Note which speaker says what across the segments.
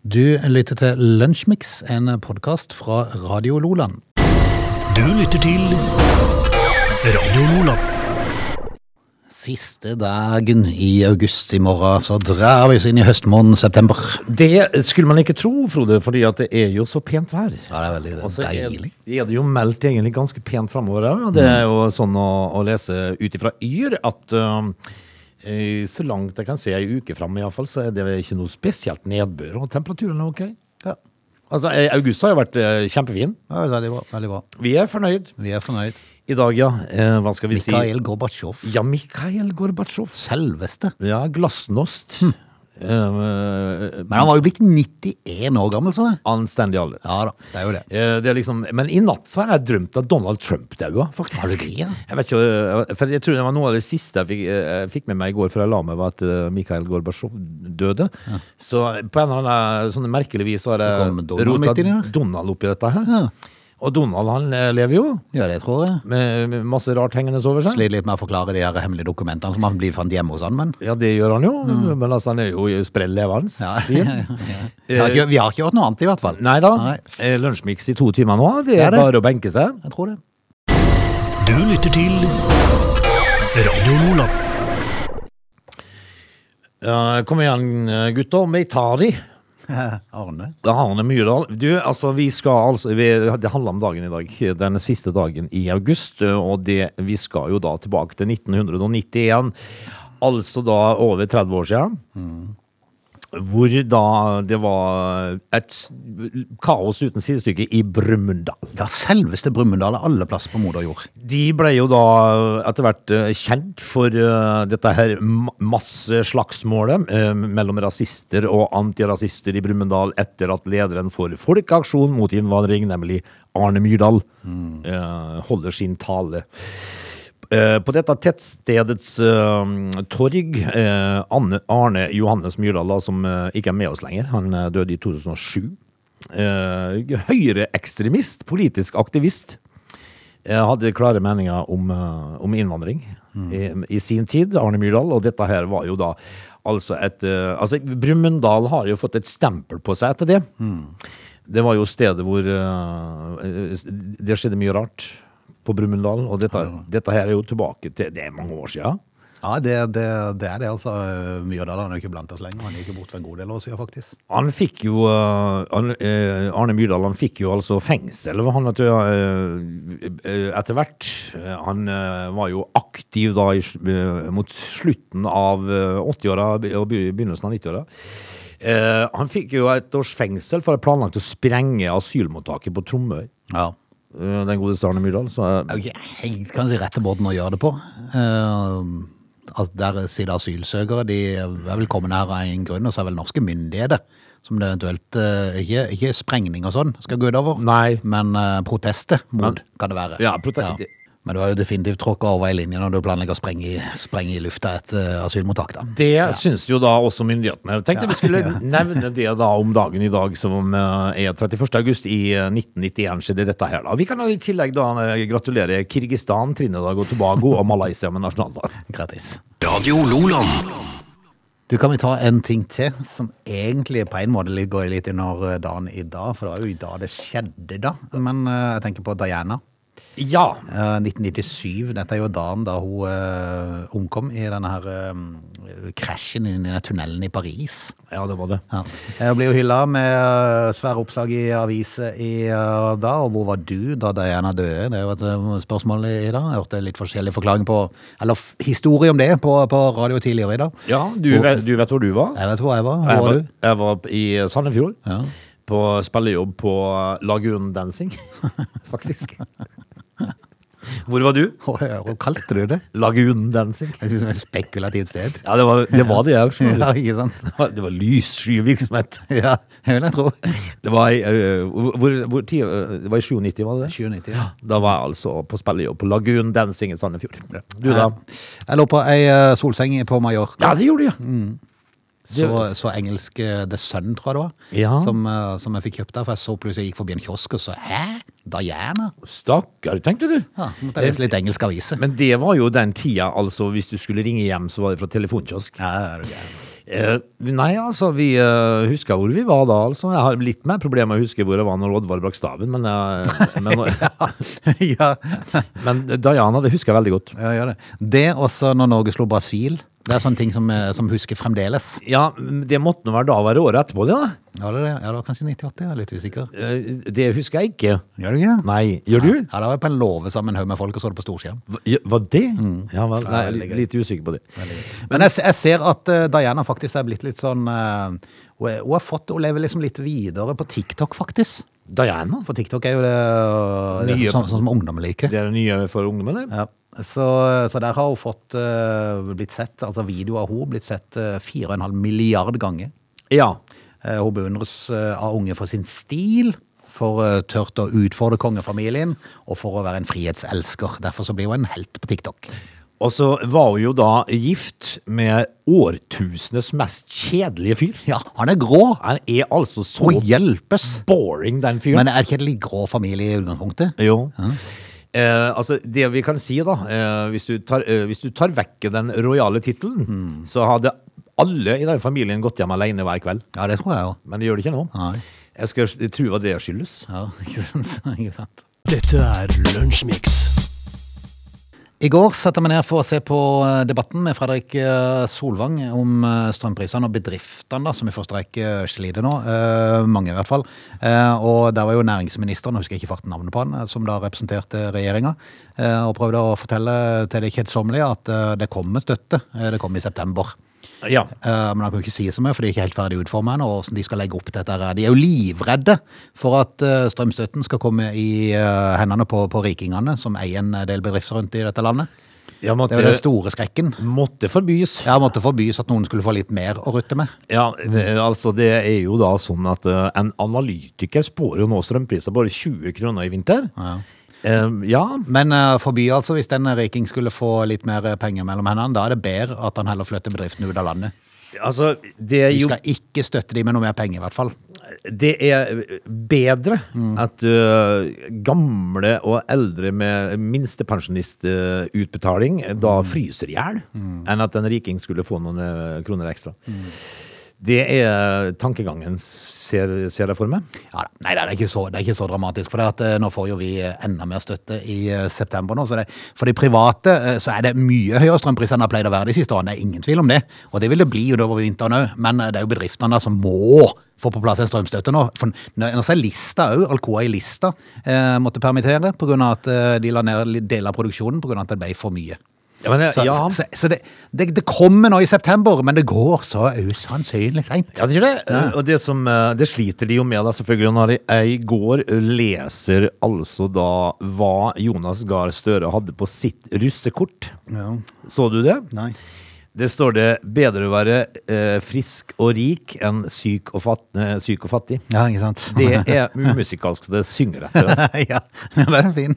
Speaker 1: Du lytter til Lunsjmix, en podkast fra Radio Loland.
Speaker 2: Du lytter til Radio Lola.
Speaker 1: Siste dagen i august i morgen, så drar vi oss inn i høstmåneden september.
Speaker 3: Det skulle man ikke tro, Frode, fordi at det er jo så pent vær.
Speaker 1: Ja, det er veldig
Speaker 3: Og så er,
Speaker 1: deilig.
Speaker 3: er det jo meldt egentlig ganske pent framover. Og det er jo sånn å, å lese ut ifra Yr at um, eh, så langt jeg kan se ei uke fram, i hvert fall, så er det ikke noe spesielt nedbør. Og temperaturen er ok.
Speaker 1: Ja, det
Speaker 3: Altså, eh, August har jo vært eh, kjempefin.
Speaker 1: er veldig bra. veldig bra.
Speaker 3: Vi er fornøyd
Speaker 1: Vi er fornøyd.
Speaker 3: i dag, ja. Eh, hva skal vi si?
Speaker 1: Mikael Gorbatsjov.
Speaker 3: Ja, Mikhail Gorbatsjov.
Speaker 1: Selveste.
Speaker 3: Ja, glasnost.
Speaker 1: Hm.
Speaker 3: Eh,
Speaker 1: Men han var jo blitt 91 år gammel, så jeg.
Speaker 3: anstendig alder.
Speaker 1: Ja da, det er jo det.
Speaker 3: Eh, Det er liksom, men i natt så har jeg drømt at Donald Trump daua, faktisk.
Speaker 1: Har du det, ja?
Speaker 3: Jeg vet ikke, eh, for jeg tror det var noe av det siste jeg fikk, eh, jeg fikk med meg i går før jeg la meg, var at eh, Mikhail Gorbatsjov døde. Så på en eller annen sånn merkelig vis så har
Speaker 1: kom Donald
Speaker 3: jeg
Speaker 1: midt inn i
Speaker 3: rota
Speaker 1: det.
Speaker 3: Donald opp i dette her.
Speaker 1: Ja.
Speaker 3: Og Donald han eh, lever jo,
Speaker 1: Ja, det tror jeg.
Speaker 3: med med masse rart hengende over seg.
Speaker 1: Sliter litt med å forklare de her hemmelige dokumentene som han blir fant hjemme hos han, men
Speaker 3: Ja, det gjør han jo, men altså, han er jo sprell levende.
Speaker 1: Mm. ja. Vi har ikke- vi har ikke gjort noe annet, i hvert fall.
Speaker 3: Nei da. Eh,
Speaker 1: Nei.
Speaker 3: Lunsjmiks i to timer nå. Det
Speaker 1: Det er
Speaker 3: er
Speaker 1: det.
Speaker 3: bare å benke seg.
Speaker 1: Jeg tror det.
Speaker 2: Du lytter til Radio Lola.
Speaker 3: Eh, Kom igjen, gutter. Vi tar de.
Speaker 1: Arne.
Speaker 3: Da har han det mye, da. Du, altså, vi skal altså vi, Det handler om dagen i dag. Den siste dagen i august. Og det, vi skal jo da tilbake til 1991. Altså da over 30 år siden. Hvor da det var et s- kaos uten sidestykke i Brumunddal.
Speaker 1: Ja, selveste Brumunddal er alle plasser på moder jord.
Speaker 3: De ble jo da etter hvert eh, kjent for eh, dette her ma- masseslagsmålet eh, mellom rasister og antirasister i Brumunddal etter at lederen for Folkeaksjon mot innvandring, nemlig Arne Myrdal, eh, holder sin tale. Eh, På dette tettstedets eh, torg, eh, Anne, Arne Johannes Myrdal, da, som eh, ikke er med oss lenger, han eh, døde i 2007. Eh, Høyreekstremist, politisk aktivist. Jeg eh, hadde klare meninger om, eh, om innvandring i, i sin tid, Arne Myrdal, og dette her var jo da altså et eh, altså Brumunddal har jo fått et stempel på seg etter det. Det var jo stedet hvor eh, Det skjedde mye rart på Brumunddal, og dette, dette her er jo tilbake til Det er mange år sia.
Speaker 1: Ja, det, det, det er det, altså. Myrdal han er jo ikke blant oss lenger. Han gikk jo bort for en god del år siden, faktisk.
Speaker 3: Han fikk jo eh, han, eh, Arne Myrdal han fikk jo altså fengsel. Han vet du, eh, eh, etter hvert. Eh, Han eh, var jo aktiv da i, sl- eh, mot slutten av eh, 80-åra og be- begynnelsen av 90-åra. Eh, Han fikk jo et års fengsel for å ha planlagt å sprenge asylmottaket på Tromøy.
Speaker 1: Ja.
Speaker 3: eh, Den godeste Arne Myrdal. Så,
Speaker 1: Det
Speaker 3: eh,
Speaker 1: er jo ikke helt kanskje rette måten å gjøre det på. Eh, altså, der sitter asylsøkere. De er velkommen her av en grunn, og så er vel norske myndigheter som det eventuelt eh, ikke, ikke sprengning og sånn skal gå utover,
Speaker 3: Nei.
Speaker 1: men eh, protester mot,
Speaker 3: Men-
Speaker 1: kan det være.
Speaker 3: Ja, prote-
Speaker 1: Men du har jo definitivt tråkka over ei linje når du planlegger å sprenge, i- sprenge i lufta et eh, asylmottak, da.
Speaker 3: Det syns jo da også myndighetene. Jeg tenkte vi skulle nevne det da om dagen i dag, som eh, er 31. august i eh, 1991 skjedde dette her. da. Vi kan jo i tillegg da eh, gratulere Kirgistan, Trinidad og Tobago og Malaysia med nasjonaldag.
Speaker 1: Gratis.
Speaker 2: Radio Lola.
Speaker 1: Du, kan vi ta en ting til, som egentlig på en måte litt- går litt under eh, dagen i dag, for det var jo i dag det skjedde da, men eh, jeg tenker på Diana.
Speaker 3: Ja.
Speaker 1: Eh, 1997, dette er jo dagen da hun eh, omkom i denne her eh, krasjen inn i denne tunnelen i Paris.
Speaker 3: ja, det var det.
Speaker 1: Ja. Jeg ble jo hylla med eh, svære oppslag i aviser i eh, dag, og hvor var du da Diana døde? Det er jo et eh, spørsmål i i dag. Jeg hørte litt forskjellig forklaring på, eller f- historie om det på, på radio tidligere i dag.
Speaker 3: Ja, du,
Speaker 1: Og-
Speaker 3: vet- du vet hvor du var?
Speaker 1: Jeg vet hvor jeg var.
Speaker 3: Jeg
Speaker 1: Hvor var
Speaker 3: var,
Speaker 1: du?
Speaker 3: jeg var i Sandefjord.
Speaker 1: Ja.
Speaker 3: På spillejobb på Lagun Dancing, faktisk. Hvor var du?
Speaker 1: Hvor kalte du det?
Speaker 3: Lagun Dancing.
Speaker 1: Jeg synes det er et spekulativt sted.
Speaker 3: Ja, det var det, var det jeg skjønner.
Speaker 1: Ja, ikke sant?
Speaker 3: Det var lyssky virksomhet.
Speaker 1: Ja, det vil jeg tro.
Speaker 3: Det var i, eh, hvor, hvor, ti- eh, det var i 97, var det det?
Speaker 1: 97, ja.
Speaker 3: Da var jeg altså på spillejobb på Lagun Dancing i Sandefjord. Du da?
Speaker 1: Jeg lå på ei eh, solseng på Mallorca.
Speaker 3: Ja, det gjorde jeg.
Speaker 1: Så, så engelsk eh, The Sun, tror jeg det var,
Speaker 3: Ja.
Speaker 1: som, eh, som jeg fikk kjøpt der. For jeg så plutselig jeg gikk forbi en kiosk og så Hæ? Diana?
Speaker 3: Stakkar, tenkte du.
Speaker 1: Ja, så måtte jeg lese litt engelsk avise.
Speaker 3: Men det var jo den tida, altså, hvis du skulle ringe hjem, så var det fra telefonkiosk.
Speaker 1: Ja, er du gæren.
Speaker 3: Eh, nei, altså, vi eh, husker hvor vi var da, altså. Jeg har litt mer problemer med å huske hvor jeg var når Oddvar brakk staven, men, eh, men,
Speaker 1: ja,
Speaker 3: men Diana, det husker jeg veldig godt.
Speaker 1: ja, gjør det. Det også når Norge slo Brasil. Det er sånne ting som, eh, som husker fremdeles.
Speaker 3: Ja, det måtte nå være da være året etterpå, det da.
Speaker 1: Ja, det, er det. ja, det var kanskje 98, jeg er litt usikker.
Speaker 3: Eh, Det husker jeg ikke.
Speaker 1: Gjør du ikke?
Speaker 3: Nei, gjør du?
Speaker 1: Ja, da var jeg på en låve sammen med en haug med folk og så det på storskjerm.
Speaker 3: Hva- ja, Var det? Ja, vel, nei,
Speaker 1: veldig gøy.
Speaker 3: litt usikker på det.
Speaker 1: Men jeg, jeg ser at eh, Diana faktisk er blitt litt sånn eh, Hun er- hun har fått Hun lever liksom litt videre på TikTok, faktisk.
Speaker 3: Diana?
Speaker 1: For TikTok er jo det, eh, det er
Speaker 3: Nye-
Speaker 1: sånn, sånn som ungdom liker.
Speaker 3: Det er det nye for ungdom, eller?
Speaker 1: Ja. Så, så der har hun fått eh, blitt sett, altså videoer av hun blitt sett eh, 4,5 milliard ganger.
Speaker 3: Ja.
Speaker 1: Eh, hun beundres eh, av unge for sin stil, for eh, tørt å utfordre kongefamilien, og for å være en frihetselsker. Derfor så blir hun en helt på TikTok.
Speaker 3: Og så var hun jo da gift med årtusenes mest kjedelige fyr.
Speaker 1: Ja, han er grå!
Speaker 3: Han er altså så
Speaker 1: Hun hjelpes!
Speaker 3: boring, den fyren.
Speaker 1: Men er det ikke en litt grå familie i utgangspunktet?
Speaker 3: Jo. Eh, altså, det vi kan si, da, eh, hvis, du tar, eh, hvis du tar vekk den rojale tittelen, så hadde alle i den familien gått hjem alene hver kveld.
Speaker 1: Ja, det tror jeg jo.
Speaker 3: Men det gjør det ikke nå.
Speaker 1: Nei.
Speaker 3: Jeg skal s- tro hva det skyldes.
Speaker 1: Ja, ikke sant? Så, ikke sant?
Speaker 2: Dette er Lunsjmix.
Speaker 1: I går satte jeg meg ned for å se på eh, debatten med Fredrik eh, Solvang om eh, strømprisene og bedriftene, da, som i første rekke sliter nå. eh, Mange, i hvert fall. Eh, Og der var jo næringsministeren, jeg husker ikke farten navnet på han, eh, som da representerte regjeringa, eh, og prøvde å fortelle til det kjedsommelige at eh, det kommer støtte. eh, Det kommer i september.
Speaker 3: Ja.
Speaker 1: Eh, Men han kan jo ikke si så mye, for de er ikke helt ferdig utformet ennå. og Hvordan de skal legge opp dette her. De er jo livredde for at eh, strømstøtten skal komme i eh, hendene på, på rikingene, som eier en del bedrifter rundt i dette landet.
Speaker 3: Jeg
Speaker 1: Det
Speaker 3: måtte,
Speaker 1: er jo den store skrekken.
Speaker 3: måtte forbys.
Speaker 1: Jeg måtte forbys at noen skulle få litt mer å rutte med.
Speaker 3: Ja, eh, altså det er jo da sånn at eh, en analytiker spår jo nå strømpriser bare 20 kroner i vinter. Ja. ja.
Speaker 1: Men eh, forby altså, hvis den riking skulle få litt mer eh, penger mellom hendene, da er det bedre at han heller flytter bedriften ut av landet.
Speaker 3: Altså, det er
Speaker 1: Vi
Speaker 3: jo
Speaker 1: skal ikke støtte de med noe mer penger, i hvert fall.
Speaker 3: Det er bedre at eh, gamle og eldre med minstepensjonistutbetaling da fryser i hjel, enn at en riking skulle få noen eh, kroner ekstra. Det er tankegangen, ser, ser jeg for meg.
Speaker 1: Ja, da. nei, det er, ikke så, det er ikke så dramatisk. For det at, eh, nå får jo vi eh, enda mer støtte i eh, september. nå, så det, For de private eh, så er det mye høyere strømpris enn det har pleid å være de siste årene. Det er ingen tvil om det. Og det vil det bli utover vinteren òg. Men eh, det er jo bedriftene da som må få på plass en strømstøtte nå. For nå nå ser Lista òg, Alcoa i Lista, eh, måtte permittere pga. at eh, de la ned litt deler av produksjonen pga. at det ble for mye.
Speaker 3: Ja, men, eh,
Speaker 1: Så,
Speaker 3: ja,
Speaker 1: så, så det, det, det kommer nå i september, men det går så usannsynlig seint.
Speaker 3: Ja, det gjør det. Og det, som, eh, det sliter de jo med, da, selvfølgelig. Når jeg- jeg i går eh, leser altså da hva Jonas Gahr Støre hadde på sitt russekort. Så du det?
Speaker 1: Nei.
Speaker 3: Det står det 'bedre å være eh, frisk og rik enn syk og, fat, eh, syk og fattig'.
Speaker 1: Ja, ikke sant?
Speaker 3: Det er umusikalsk, så det synger etter. Altså.
Speaker 1: ja, den er fin.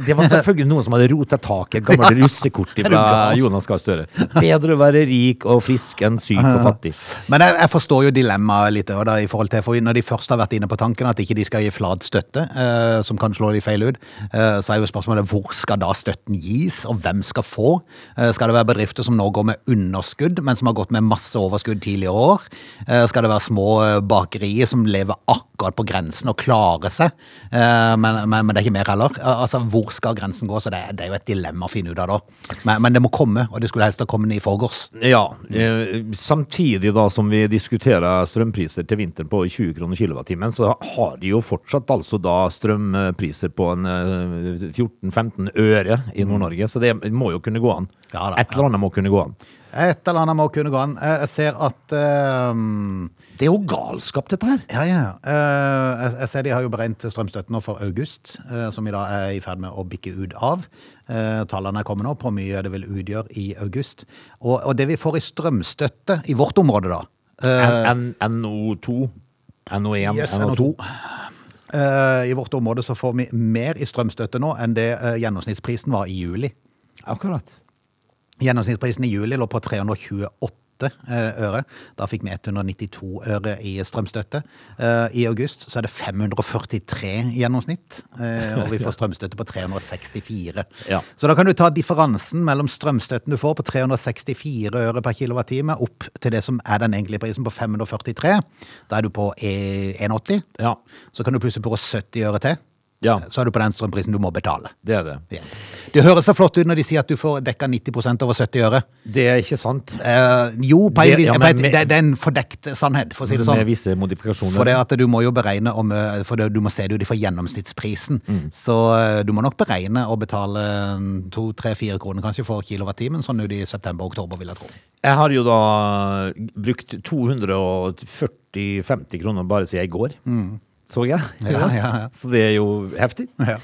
Speaker 3: Det var selvfølgelig noen som hadde rota tak i et gammelt russekort
Speaker 1: Er du
Speaker 3: fra
Speaker 1: gal?
Speaker 3: Jonas Gahr Støre. Bedre å være rik og frisk enn syk og fattig.
Speaker 1: Men jeg, jeg forstår jo dilemmaet litt også da, i forhold til, for når de først har vært inne på tanken at ikke de skal gi flat støtte, eh, som kan slå de feil ut, eh, så er jo spørsmålet hvor skal da støtten gis, og hvem skal få? Eh, skal det være bedrifter som nå går med underskudd, men som har gått med masse overskudd tidligere år? Eh, skal det være små eh, bakerier som lever akkurat på grensen og klarer seg? Eh, men, men, men det er ikke mer heller. Eh, altså, hvor skal grensen gå? Så det, er- det er jo et dilemma å finne ut av da. Men, men det må komme, og det skulle helst ha kommet i forgårs.
Speaker 3: Ja,
Speaker 1: Mm.
Speaker 3: eh, samtidig da som vi diskuterer strømpriser til vinteren på 20 kroner kilowattimen, så har de jo fortsatt altså da strømpriser på en eh, 14-15 øre i Nord-Norge, så det må jo kunne gå an.
Speaker 1: Mm. Ja da,
Speaker 3: Et eller annet må kunne gå an.
Speaker 1: Eh, Et eller annet må kunne gå an. Eh, Jeg ser at ehm,
Speaker 3: Det er jo galskap dette her.
Speaker 1: Ja, ja. eh, jeg- Jeg ser de har jo beregnet strømstøtten nå for august, eh, som vi da er i ferd med å bikke ut av. Eh, Tallene er kommet nå på hvor mye det vil utgjøre i august. Og, og det vi får i strømstøtte i vårt område, da
Speaker 3: N- N- NO2,
Speaker 1: Eh,
Speaker 3: NO1,
Speaker 1: Yes,
Speaker 3: NO2.
Speaker 1: NO2. eh, I vårt område så får vi mer i strømstøtte nå enn det eh, gjennomsnittsprisen var i juli.
Speaker 3: Akkurat.
Speaker 1: Gjennomsnittsprisen i juli lå på 328 198 eh, øre. Da fikk vi 192 øre i strømstøtte. Eh, I august så er det 543 i gjennomsnitt, eh, og vi får strømstøtte på 364.
Speaker 3: Ja.
Speaker 1: Så da kan du ta differansen mellom strømstøtten du får på 364 øre per kilowattime, opp til det som er den egentlige prisen på 543. Da er du på eh, 180.
Speaker 3: Ja,
Speaker 1: Så kan du plutselig på 70 øre til.
Speaker 3: Ja.
Speaker 1: Så er du på den strømprisen du må betale.
Speaker 3: det er det.
Speaker 1: Ja. Det høres så flott ut når de sier at du får dekka 90 over 70 øre.
Speaker 3: Det er ikke sant.
Speaker 1: Eh, jo, på en,
Speaker 3: Det- ja,
Speaker 1: på
Speaker 3: men
Speaker 1: et-
Speaker 3: med-
Speaker 1: det, det er en fordekt sannhet, for å si det sånn.
Speaker 3: Med visse modifikasjoner.
Speaker 1: For det at du må jo beregne om, eh, for det, du må se det jo fra gjennomsnittsprisen.
Speaker 3: Mm.
Speaker 1: Så eh, du må nok beregne å betale eh, to, tre, fire kroner kanskje for kilowattimen, sånn ut i september-oktober, vil jeg tro.
Speaker 3: Jeg har jo da brukt 240-50 kroner bare siden i går. Så jeg.
Speaker 1: Mm. Ja, ja, ja.
Speaker 3: Så det er jo heftig.
Speaker 1: Ja.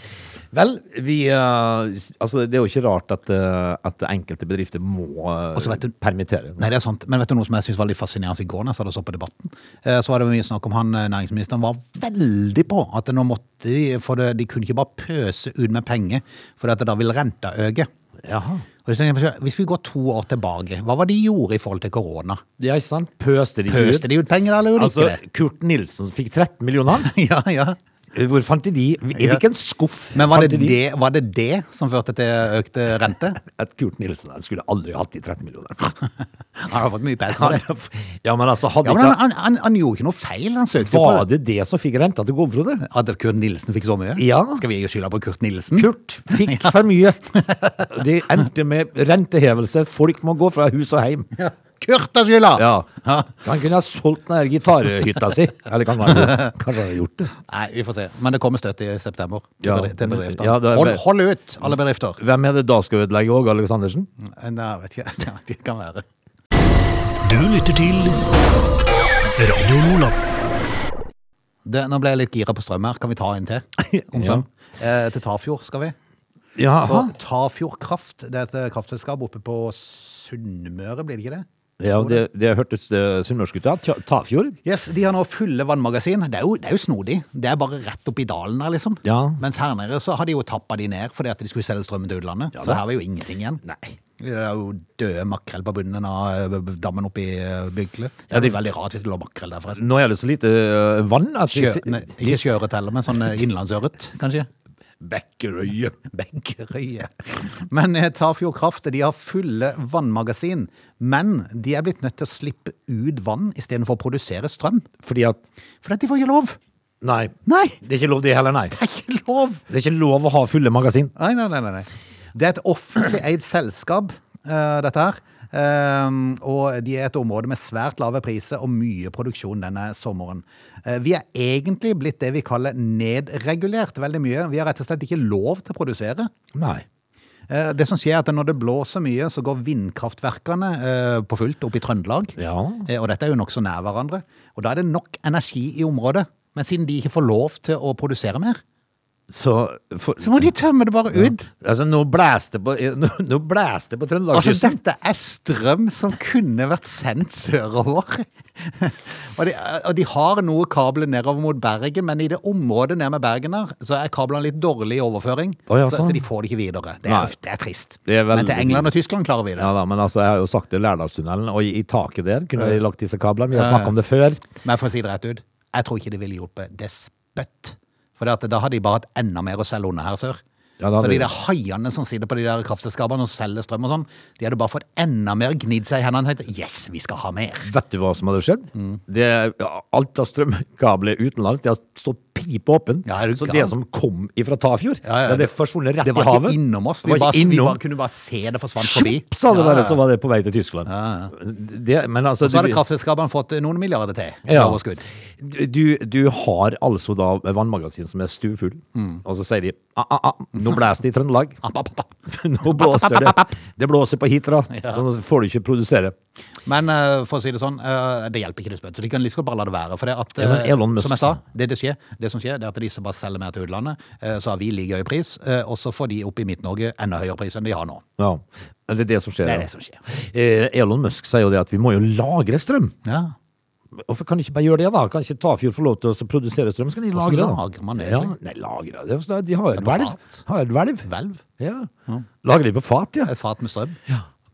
Speaker 3: Vel, vi eh, s- Altså, det er jo ikke rart at, eh, at enkelte bedrifter må eh,
Speaker 1: så vet du-
Speaker 3: permittere.
Speaker 1: Nei, det er sant. Men vet du noe som jeg synes var litt fascinerende i går når jeg satt og så på debatten? Eh, Så var det mye snakk om han eh, næringsministeren var veldig på at nå måtte de, for det, de kunne ikke bare pøse ut med penger, for at da vil renta øke.
Speaker 3: Jaha.
Speaker 1: Og så tenker jeg på selv, Hvis vi går to år tilbake, hva var det de gjorde i forhold til korona?
Speaker 3: Ja, ikke sant? Pøste de ikke
Speaker 1: Pøste de ut penger, eller gjorde de
Speaker 3: Altså,
Speaker 1: ikke det?
Speaker 3: Kurt Nilsen fikk 13 millioner.
Speaker 1: Ja, ja.
Speaker 3: Hvor fant de de? I
Speaker 1: Ja.
Speaker 3: hvilken skuff
Speaker 1: Men var det
Speaker 3: fant de de?
Speaker 1: det, var det det som førte til økte rente?
Speaker 3: At Kurt Nilsen han skulle aldri hatt de 13 millioner.
Speaker 1: Han har fått mye pes for det.
Speaker 3: Ja, men altså,
Speaker 1: Ja,
Speaker 3: hadde
Speaker 1: men han,
Speaker 3: ikke
Speaker 1: han, han, han gjorde ikke noe feil. Han søkte jo på
Speaker 3: Var
Speaker 1: det.
Speaker 3: det det som fikk renta til å gå opp, Frode?
Speaker 1: At Kurt Nilsen fikk så mye?
Speaker 3: Ja.
Speaker 1: Skal vi gi skylda på Kurt Nilsen?
Speaker 3: Kurt fikk for mye. Det endte med rentehevelse. Folk må gå fra hus og hjem.
Speaker 1: Ja. Kurt har skylda!
Speaker 3: Ja. Han kunne ha solgt den der gitarhytta si. Eller kan han ha gjort- kanskje han har gjort det.
Speaker 1: Nei, vi får se. Men det kommer støtte i september til
Speaker 3: Ja.
Speaker 1: bedri- til bedrifter.
Speaker 3: Ja, det er-
Speaker 1: hold, hold ut, alle bedrifter!
Speaker 3: Hvem er det da skal ødelegge òg, Aleksandersen?
Speaker 1: Nei, jeg vet ikke. Jeg vet ikke hva det kan være.
Speaker 2: Du lytter til Radio Lola.
Speaker 1: Det, nå ble jeg litt gira på strøm her. Kan vi ta en til? Om
Speaker 3: sånn.
Speaker 1: strøm? Eh, til Tafjord skal vi.
Speaker 3: Jaha.
Speaker 1: For Tafjord Kraft, det er et eh, kraftselskap oppe på Sunnmøre, blir det ikke det?
Speaker 3: Ja, det, det hørtes eh, sunnmørsk ut, ja. Ta- Tafjord?
Speaker 1: Yes, De har nå fulle vannmagasin. Det er jo, det er jo snodig. Det er bare rett oppi dalen her, liksom.
Speaker 3: Ja.
Speaker 1: Mens her nede så har de jo tappa de ned fordi at de skulle selge strømmen til utlandet. så
Speaker 3: da.
Speaker 1: her var jo ingenting igjen.
Speaker 3: Nei.
Speaker 1: Det er jo døde makrell på bunnen av eh, dammen oppi eh, Bykle. Det
Speaker 3: Ja,
Speaker 1: er
Speaker 3: de-
Speaker 1: jo veldig rart hvis det lå makrell der, forresten.
Speaker 3: Nå er det så lite eh, vann at vi
Speaker 1: Sjø,
Speaker 3: si-
Speaker 1: nei, ikke sjøørret heller, men sånn eh, innlandsørret, kanskje.
Speaker 3: Bekkerøye.
Speaker 1: Beggerøye. Men eh, Tafjord Kraft de har fulle vannmagasin. Men de er blitt nødt til å slippe ut vann istedenfor å produsere strøm.
Speaker 3: Fordi at
Speaker 1: For de får ikke lov!
Speaker 3: Nei.
Speaker 1: Nei!
Speaker 3: Det er ikke lov, det heller, nei.
Speaker 1: Det er ikke lov!
Speaker 3: Det er ikke lov å ha fulle magasin.
Speaker 1: Nei, nei, nei, nei, nei. Det er et offentlig eid selskap, eh, dette her. Ehm, og de er et område med svært lave priser og mye produksjon denne sommeren. Eh, vi er egentlig blitt det vi kaller nedregulert veldig mye. Vi har rett og slett ikke lov til å produsere.
Speaker 3: Nei.
Speaker 1: Eh, det som skjer er at når det blåser mye, så går vindkraftverkene eh, på fullt opp i Trøndelag.
Speaker 3: Ja.
Speaker 1: Eh, og dette er jo nokså nær hverandre. Og da er det nok energi i området. Men siden de ikke får lov til å produsere mer,
Speaker 3: Så, for,
Speaker 1: så må de tømme det bare ut.
Speaker 3: Altså, nå blæste det på, nå, nå blæs det på
Speaker 1: Altså,
Speaker 3: Trøndelagskysten.
Speaker 1: dette er strøm som kunne vært sendt sørover. og, de, og de har noe kabler nedover mot Bergen, men i det området nede med Bergen her, så er kablene litt dårlig i overføring.
Speaker 3: Å, ja,
Speaker 1: så,
Speaker 3: sånn.
Speaker 1: så de får det ikke videre. Det
Speaker 3: Nei.
Speaker 1: er, det er trist.
Speaker 3: Det er veldig
Speaker 1: men til England og Tyskland klarer vi det.
Speaker 3: Ja da, men altså, jeg har jo sagt det, Lærdalstunnelen, og i, i taket der kunne de lagt disse kablene. Vi har snakket om det før.
Speaker 1: Men for å si det rett ut, jeg tror ikke det ville hjulpet det spøtt. For det at, da hadde de bare hatt enda mer å selge under her sør.
Speaker 3: Ja, da hadde
Speaker 1: så de
Speaker 3: de-
Speaker 1: der haiene som sitter på de der kraftselskapene og selger strøm og sånn, de hadde bare fått enda mer gnidd seg i hendene og tenkt yes, vi skal ha mer.
Speaker 3: Vet du hva som hadde skjedd?
Speaker 1: Mm.
Speaker 3: Det, ja, alt av strømkabler utenlands, det har stått pip åpen.
Speaker 1: Ja, er du
Speaker 3: så
Speaker 1: gal?
Speaker 3: det som kom ifra Tafjord,
Speaker 1: Ja, ja,
Speaker 3: det, det
Speaker 1: det-
Speaker 3: forsvunnet rett
Speaker 1: Det var
Speaker 3: i havet.
Speaker 1: ikke innom oss. Vi,
Speaker 3: Det var
Speaker 1: bare,
Speaker 3: ikke
Speaker 1: vi
Speaker 3: innom.
Speaker 1: bare kunne bare se det forsvant forbi.
Speaker 3: Sjopp, sa det
Speaker 1: Ja,
Speaker 3: bare,
Speaker 1: ja.
Speaker 3: så var det på vei til Tyskland. Det, men altså,
Speaker 1: Så hadde
Speaker 3: du-
Speaker 1: kraftselskapene fått eh, noen milliarder til. i
Speaker 3: Ja.
Speaker 1: Overskudd.
Speaker 3: Du, du har altså da vannmagasin som er stuefull, og så sier de ah, ah, ah, nå blåser det i Trøndelag.
Speaker 1: Mm. App, app, app.
Speaker 3: Nå blåser det. Det blåser på Hitra, så nå får du ikke produsere.
Speaker 1: Men eh, for å si det sånn, eh, det hjelper ikke det spøtt. Så de kan like liksom bare la det være. For det at,
Speaker 3: Ja, men
Speaker 1: eh,
Speaker 3: Elon Musk
Speaker 1: som jeg sa,
Speaker 3: sa.
Speaker 1: det, det, skjer, det som skjer, det er at de som bare selger mer til utlandet, eh, så har vi like høy pris, eh, og så får de oppe i Midt-Norge enda høyere pris enn de har nå.
Speaker 3: Ja, Det er det som skjer.
Speaker 1: Det
Speaker 3: ja.
Speaker 1: er det som skjer.
Speaker 3: Eh, Elon Musk sier jo det at vi må jo lagre strøm.
Speaker 1: Ja.
Speaker 3: Hvorfor kan de ikke bare gjøre det, da? Kan ikke Tafjord få lov til å så produsere strøm? Så kan de
Speaker 1: Hvordan
Speaker 3: lagre, da.
Speaker 1: lagrer man det,
Speaker 3: Ja,
Speaker 1: egentlig?
Speaker 3: nei, lagre det er jo- De har jo et
Speaker 1: Det er på
Speaker 3: hvelv.
Speaker 1: fat.
Speaker 3: Har et hvelv.
Speaker 1: Hvelv.
Speaker 3: Ja. Lagrer de på fat, ja.
Speaker 1: Et fat med strøm.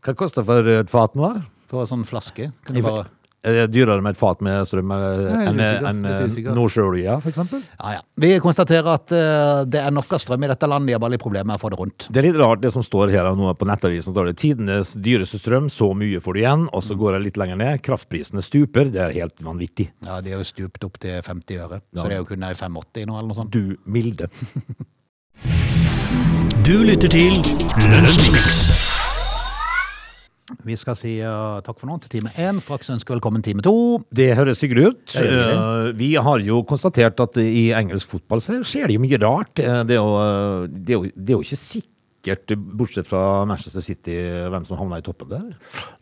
Speaker 3: Hva koster for et fat nå? da?
Speaker 1: på en sånn flaske. Kan
Speaker 3: I
Speaker 1: du
Speaker 3: fa-
Speaker 1: bare...
Speaker 3: Er det dyrere med et fat med strøm eh,
Speaker 1: Jeg er
Speaker 3: enn
Speaker 1: litt usikker,
Speaker 3: enn,
Speaker 1: litt
Speaker 3: eh,
Speaker 1: usikker.
Speaker 3: nordsjøolje, for eksempel?
Speaker 1: Ja, ja. Vi konstaterer at eh, det er nok av strøm i dette landet. De har bare litt problemer med å få det rundt.
Speaker 3: Det er litt rart det som står her og nå på nettavisen. står det 'Tidenes dyreste strøm, så mye får du igjen', og så går jeg litt lenger ned. 'Kraftprisene stuper'. Det er helt vanvittig.
Speaker 1: Ja, De er jo stupt opp til 50 øre,
Speaker 3: Ja.
Speaker 1: så det er jo kun ei 85 nå, eller noe sånt.
Speaker 3: Du milde.
Speaker 2: Du lytter til Lunsjmix.
Speaker 1: Vi skal si eh, takk for nå til time én. Straks ønsker velkommen time to.
Speaker 3: Det høres hyggelig ut.
Speaker 1: Ja, det gjør
Speaker 3: Eh, Vi har jo konstatert at i engelsk fotball så skjer det jo mye rart. Eh, Det er jo, eh, det er jo, det er jo ikke sikkert, bortsett fra Manchester City, hvem som havna i toppen der.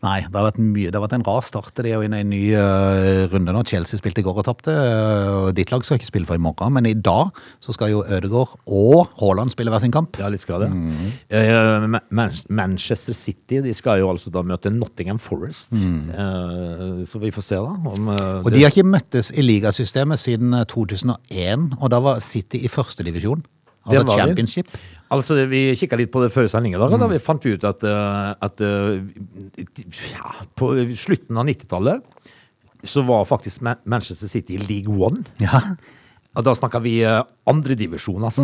Speaker 1: Nei, det har vært mye. Det har vært en rar start. Det er jo inne i en ny eh, runde nå. Chelsea spilte i går og tapte. eh, og ditt lag skal ikke spille for i morgen, men i dag så skal jo Ødegaard og Haaland spille hver sin kamp.
Speaker 3: Ja, litt skal det.
Speaker 1: Mm.
Speaker 3: Eh, Ma- Man- Manchester City de skal jo altså da møte Nottingham Forest. Eh, Så vi får se, da. Om, eh,
Speaker 1: Mm. Og de har ikke møttes i ligasystemet siden eh, 2001, og da var City i førstedivisjon.
Speaker 3: Det
Speaker 1: Altså
Speaker 3: var de.
Speaker 1: championship.
Speaker 3: Altså, Vi kikka litt på det før sendinga. Da,
Speaker 1: Mm.
Speaker 3: da vi fant vi ut at, eh, at eh, ja, på slutten av 90-tallet så var faktisk Ma- Manchester City i League One.
Speaker 1: Ja.
Speaker 3: Og da snakka vi eh, andredivisjon, altså.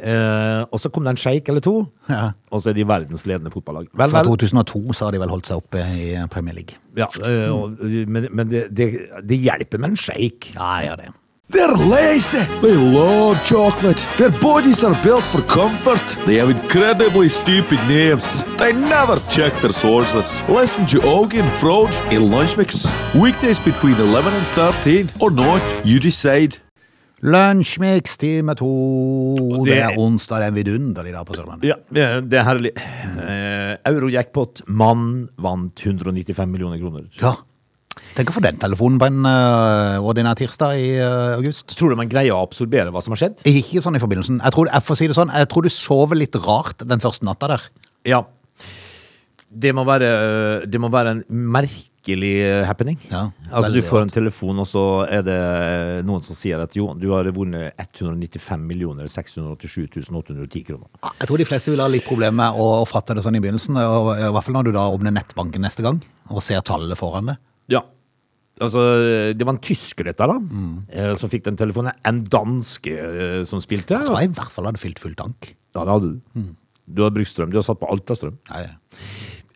Speaker 3: eh, og så kom det en sjeik eller to,
Speaker 1: Mm. Ja.
Speaker 3: og så er de verdens ledende fotballag. Vel,
Speaker 1: Fra
Speaker 3: vel.
Speaker 1: 2002 så har de vel holdt seg oppe i Premier League.
Speaker 3: Ja, eh, og, men men det, det, det hjelper med en sjeik.
Speaker 1: Ja, ja, det.
Speaker 4: They're lazy. They love chocolate. Their bodies are built for comfort. They have incredibly stupid names. They never check their sources. Listen to Augie and Frode in Lunch Mix. Weekdays between 11 and 13 or not, you decide.
Speaker 1: Lunsjmix time to.
Speaker 3: det-
Speaker 1: Det er onsdag, det er en vidunderlig dag på Sørlandet.
Speaker 3: Ja, eh, det er herlig. Eh, Eurojackpot. Mann vant 195 millioner kroner.
Speaker 1: Ja. Tenk å få den telefonen på en ø, ordinær tirsdag i ø, august.
Speaker 3: Tror du man greier å absorbere hva som har skjedd?
Speaker 1: Ikke sånn i forbindelsen. Jeg tror, jeg får si det sånn, jeg tror du sover litt rart den første natta der.
Speaker 3: Ja. Det må være, øh, det må være en merkelig øh, happening.
Speaker 1: Ja,
Speaker 3: altså Du
Speaker 1: veldig
Speaker 3: får en
Speaker 1: rart.
Speaker 3: telefon, og så er det øh, noen som sier at jo, du har vunnet 195 687 810 kroner.
Speaker 1: Ja, Jeg tror de fleste vil ha litt problemer med å, å fatte det sånn i begynnelsen. Og, I hvert fall når du da åpner nettbanken neste gang og ser tallet foran det.
Speaker 3: Ja. Altså, øh, Det var en tysker, dette, da, eh, som fikk den telefonen. En danske øh, som spilte.
Speaker 1: Jeg tror jeg i hvert fall hadde fylt full tank.
Speaker 3: Ja, det hadde du. Du har brukt strøm. Du har satt på alt av strøm.
Speaker 1: Nei,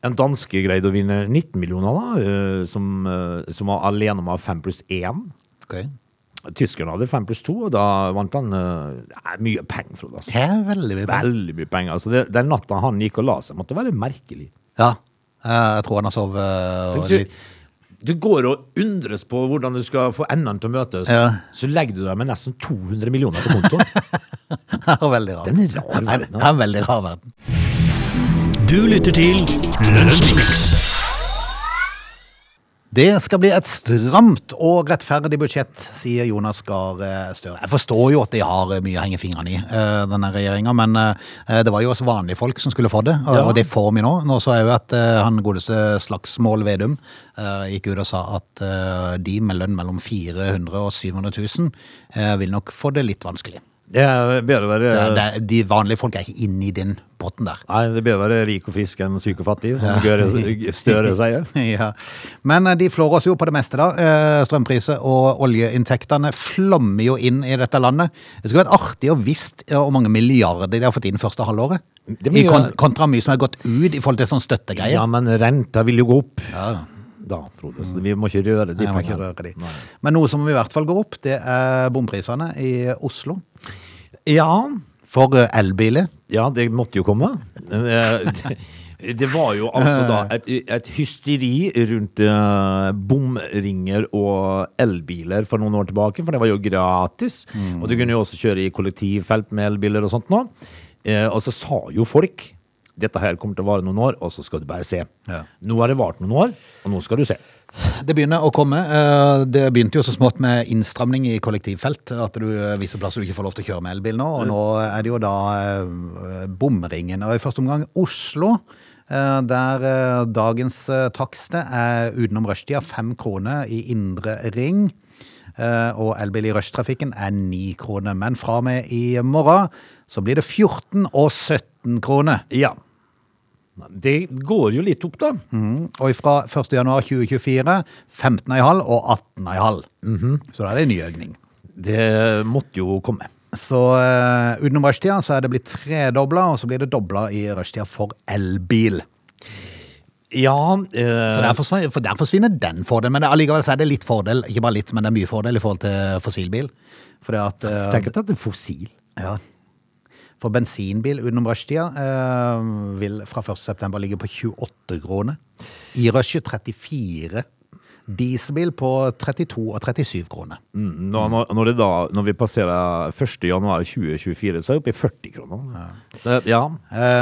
Speaker 3: En danske greide å vinne 19 millioner, da, eh, som, eh, som var alene med 5 pluss 1.
Speaker 1: ok.
Speaker 3: Tyskerne hadde 5 pluss 2, og da vant han eh, det er mye penger. Frode, altså.
Speaker 1: Det er veldig mye penger.
Speaker 3: Veldig mye penger. Altså, det, den natta han gikk og la seg, måtte være merkelig.
Speaker 1: Ja. Eh, Jeg tror han har sovet ø,
Speaker 3: Du,
Speaker 1: litt.
Speaker 3: du går og undres på hvordan du skal få endene til å møtes,
Speaker 1: Ja.
Speaker 3: så legger du deg med nesten 200 millioner på kontoen.
Speaker 1: Veldig rart.
Speaker 3: Den er rar
Speaker 1: Nei,
Speaker 3: verden.
Speaker 1: Det er en veldig rar verden.
Speaker 2: Du lytter til Lunsjmix.
Speaker 1: Det skal bli et stramt og rettferdig budsjett, sier Jonas Gahr eh, Støre. Jeg forstår jo at de har eh, mye å henge fingrene i, eh, denne regjeringa, men eh, det var jo oss vanlige folk som skulle få det, og,
Speaker 3: Ja.
Speaker 1: og det får vi nå. Nå så jeg jo at eh, han godeste Slagsmål Vedum eh, gikk ut og sa at eh, de med lønn mellom 400 000 og 700 000 eh, vil nok få det litt vanskelig.
Speaker 3: Det er bedre å være
Speaker 1: Det, er- det, er- de vanlige folk er ikke inne i den potten der.
Speaker 3: Nei, det er bedre å være rik og frisk enn syk og fattig, som Gahr Støre sier.
Speaker 1: Ja. Men eh, de flår oss jo på det meste, da. Eh, Strømpriser og oljeinntektene flommer jo inn i dette landet. Det skulle vært artig å visst eh, hvor mange milliarder de har fått inn første halvåret.
Speaker 3: Det må
Speaker 1: I
Speaker 3: jo
Speaker 1: kon
Speaker 3: være-
Speaker 1: kontra mye som har gått ut i forhold til sånn støttegreier.
Speaker 3: Ja, men renta vil jo gå opp.
Speaker 1: Ja.
Speaker 3: Da, Frode. Så vi må ikke røre de
Speaker 1: Jeg må ikke
Speaker 3: pengene.
Speaker 1: røre de.
Speaker 3: Nei.
Speaker 1: Men noe som i hvert fall går opp, det er bomprisene i Oslo.
Speaker 3: Ja,
Speaker 1: For eh, elbiler.
Speaker 3: ja, det måtte jo komme. Eh, Det, det var jo altså da
Speaker 1: Eh.
Speaker 3: et, et hysteri rundt eh, bomringer og elbiler for noen år tilbake, for det var jo gratis.
Speaker 1: Mm.
Speaker 3: Og du kunne jo også kjøre i kollektivfelt med elbiler og sånt nå. Eh, og så sa jo folk dette her kommer til å vare noen år, og så skal du bare se.
Speaker 1: Ja.
Speaker 3: Nå har det vart noen år, og nå skal du se.
Speaker 1: Det begynner å komme. Eh, Det begynte jo så smått med innstramning i kollektivfelt. At du eh, visse plasser du ikke får lov til å kjøre med elbil nå. Og nå er det jo da eh, bomringen. Og i første omgang Oslo. eh, Der eh, dagens eh, takster er utenom rushtida fem kroner i indre ring. Eh, Og elbil i rushtrafikken er ni kroner. Men fra og med i morgen så blir det 14 og 17 kroner.
Speaker 3: Ja. Det går jo litt opp, da.
Speaker 1: Mm. Og fra 1. januar 2024 15,5 og 18,5. Så da er det en ny økning.
Speaker 3: Det måtte jo komme.
Speaker 1: Så eh, utenom rushtida så er det blitt tredobla, og så blir det dobla i rushtida for elbil.
Speaker 3: Ja eh,
Speaker 1: Så der forsvinner, for der forsvinner den fordelen, men det- allikevel så er det litt fordel, ikke bare litt, men det er mye fordel i forhold til fossilbil. Fordi at, eh,
Speaker 3: Tenk at det er fossil.
Speaker 1: ja. For bensinbil utenom rushtida eh, vil fra 1.9. ligge på 28 kroner. I rushet 34. Dieselbil på 32 og 37 kroner.
Speaker 3: Når, når- når, det da, når vi passerer 1. januar 2024, så er det oppe i 40 kroner. Så, ja.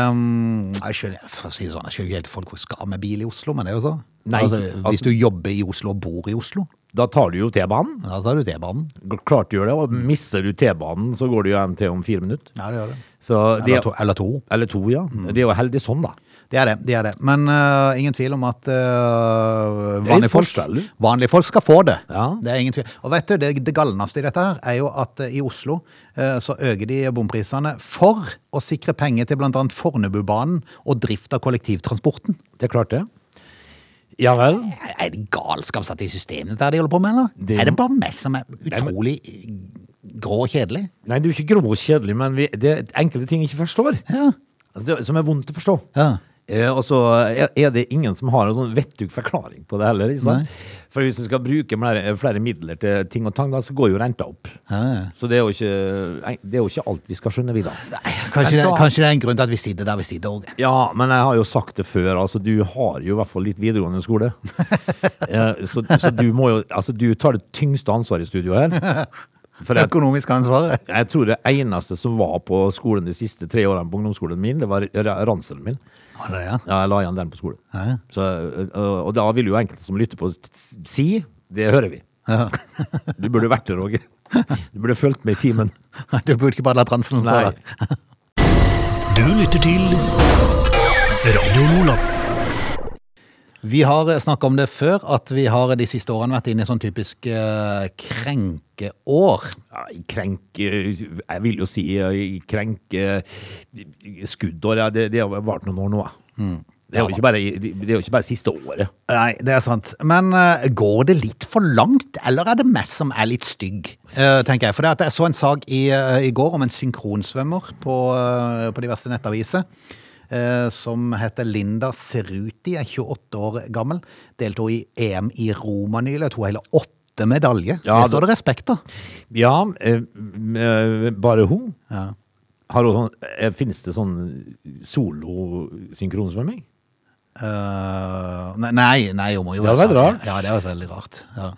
Speaker 1: Um, jeg skjønner, for å si det sånn, jeg skjønner ikke helt folk som skal med bil i Oslo, men det er jo så.
Speaker 3: Nei,
Speaker 1: altså,
Speaker 3: altså-
Speaker 1: hvis du jobber i Oslo og bor i Oslo,
Speaker 3: Da tar du jo T-banen.
Speaker 1: da tar du T-banen.
Speaker 3: Klart du gjør det. Og mister du T-banen, så går det jo en til om fire minutter.
Speaker 1: Ja, det gjør det.
Speaker 3: Så de,
Speaker 1: Eller to. Mm. Eller to.
Speaker 3: eller to, ja. De er jo heldige sånn, da.
Speaker 1: Det er det, det er det. Men øh, ingen tvil om at øh,
Speaker 3: Det er
Speaker 1: vanlige,
Speaker 3: litt
Speaker 1: folk,
Speaker 3: forskjell.
Speaker 1: vanlige folk skal få det.
Speaker 3: Ja.
Speaker 1: Det er ingen tvil. Og vet du, det, det galneste i dette her er jo at øh, i Oslo øh, så øker de bomprisene for å sikre penger til bl.a. Fornebubanen og drift av kollektivtransporten.
Speaker 3: Det er klart, det. Ja vel.
Speaker 1: Er er det galskap satt i systemet der de holder på med, eller?
Speaker 3: Det-
Speaker 1: Er det bare meg som er
Speaker 3: men-
Speaker 1: utrolig eh, grå og kjedelig?
Speaker 3: Nei, du er ikke grov og kjedelig, men vi, det er enkelte ting jeg ikke forstår.
Speaker 1: Ja.
Speaker 3: Altså, det, som er vondt å forstå.
Speaker 1: Ja.
Speaker 3: Eh, og så er, er det ingen som har en sånn vettug forklaring på det heller. Ikke sant? For hvis du skal bruke flere, flere midler til ting og tang, da, så går jo renta opp. Så det er, jo ikke, det er jo ikke alt vi skal skjønne, vi da.
Speaker 1: Kanskje, det,
Speaker 3: Men så-
Speaker 1: kanskje det er en grunn til at vi sitter der vi sitter òg.
Speaker 3: Ja, men jeg har jo sagt det før, altså du har jo i hvert fall litt videregående skole. Eh, så, så du må jo, altså du tar det tyngste ansvaret i studio her. For jeg,
Speaker 1: Økonomisk ansvaret.
Speaker 3: jeg tror det eneste som var på skolen de siste tre årene på ungdomsskolen min, det var ra- ranselen min.
Speaker 1: Ja, det er det.
Speaker 3: Ja, jeg la igjen den på skolen.
Speaker 1: Ja.
Speaker 3: Så, eh, og da vil jo enkelte som lytter på s- si, det hører vi. Du burde vært der, Roger. Du burde fulgt med i timen.
Speaker 1: Du burde ikke bare la transelen stå
Speaker 3: Nei.
Speaker 1: der.
Speaker 2: Du lytter til Radio Lola.
Speaker 1: Vi har snakka om det før, at vi har de siste årene vært inne i sånn typisk eh, krenkeår.
Speaker 3: Ja, i krenk eh, Jeg vil jo si eh, i krenk eh, i- i skuddår. Ja, det, det har vart noen år nå. Mm. ja. Det er jo ikke bare, i- det er jo ikke bare siste året.
Speaker 1: Nei, det er sant. Men eh, går det litt for langt, eller er det mest som er litt stygg? eh, tenker jeg. For det at jeg så en sak i, eh, i går om en synkronsvømmer på, eh, på diverse nettaviser. eh, som heter Linda Ceruti, er 28 år gammel. Deltok i EM i Roma nylig og tok hele åtte medaljer.
Speaker 3: Ja,
Speaker 1: det står det respekt av.
Speaker 3: Ja, eh, m- eh, bare hun. Har hun sånn, eh, finnes det sånn solo-synkronsvømming?
Speaker 1: Eh, nei, nei, nei, hun må jo
Speaker 3: Det
Speaker 1: være
Speaker 3: var
Speaker 1: sånn.
Speaker 3: rart.
Speaker 1: Ja, det var veldig rart. Ja.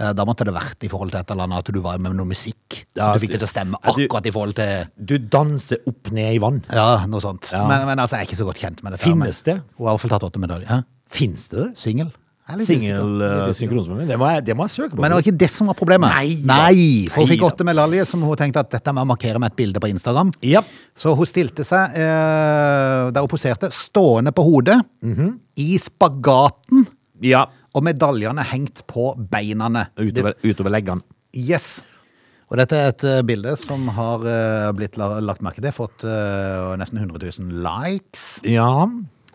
Speaker 1: Eh, Da måtte det vært i forhold til et eller annet at du var med noe musikk.
Speaker 3: Ja,
Speaker 1: at du
Speaker 3: du-
Speaker 1: fikk det til å stemme
Speaker 3: at du-
Speaker 1: akkurat i forhold til
Speaker 3: Du danser opp ned i vann.
Speaker 1: Ja, noe sånt.
Speaker 3: Ja.
Speaker 1: Men, men altså, jeg er ikke så godt kjent med dette. her,
Speaker 3: Finnes det?
Speaker 1: Men, hun har iallfall tatt åtte medaljer. Hæ?
Speaker 3: Fins det det?
Speaker 1: Singel? Jeg er litt usikker.
Speaker 3: eh,
Speaker 1: Jeg er litt usikker.
Speaker 3: Singel-synkronsvømming? Det, må jeg- det må jeg søke på.
Speaker 1: Men det var ikke det som var problemet.
Speaker 3: Nei da.
Speaker 1: Nei, for hun
Speaker 3: Nei
Speaker 1: fikk
Speaker 3: da.
Speaker 1: åtte medaljer, som hun tenkte at dette må jeg markere med et bilde på Instagram.
Speaker 3: Ja.
Speaker 1: Så hun stilte seg eh, der hun poserte, stående på hodet,
Speaker 3: Mhm.
Speaker 1: i spagaten.
Speaker 3: ja.
Speaker 1: og medaljene hengt på beinene.
Speaker 3: Utover, utover leggene.
Speaker 1: Det- Yes. Og dette er et eh, bilde som har eh, blitt la- lagt merke til, fått eh, nesten 100 000 likes.
Speaker 3: Ja.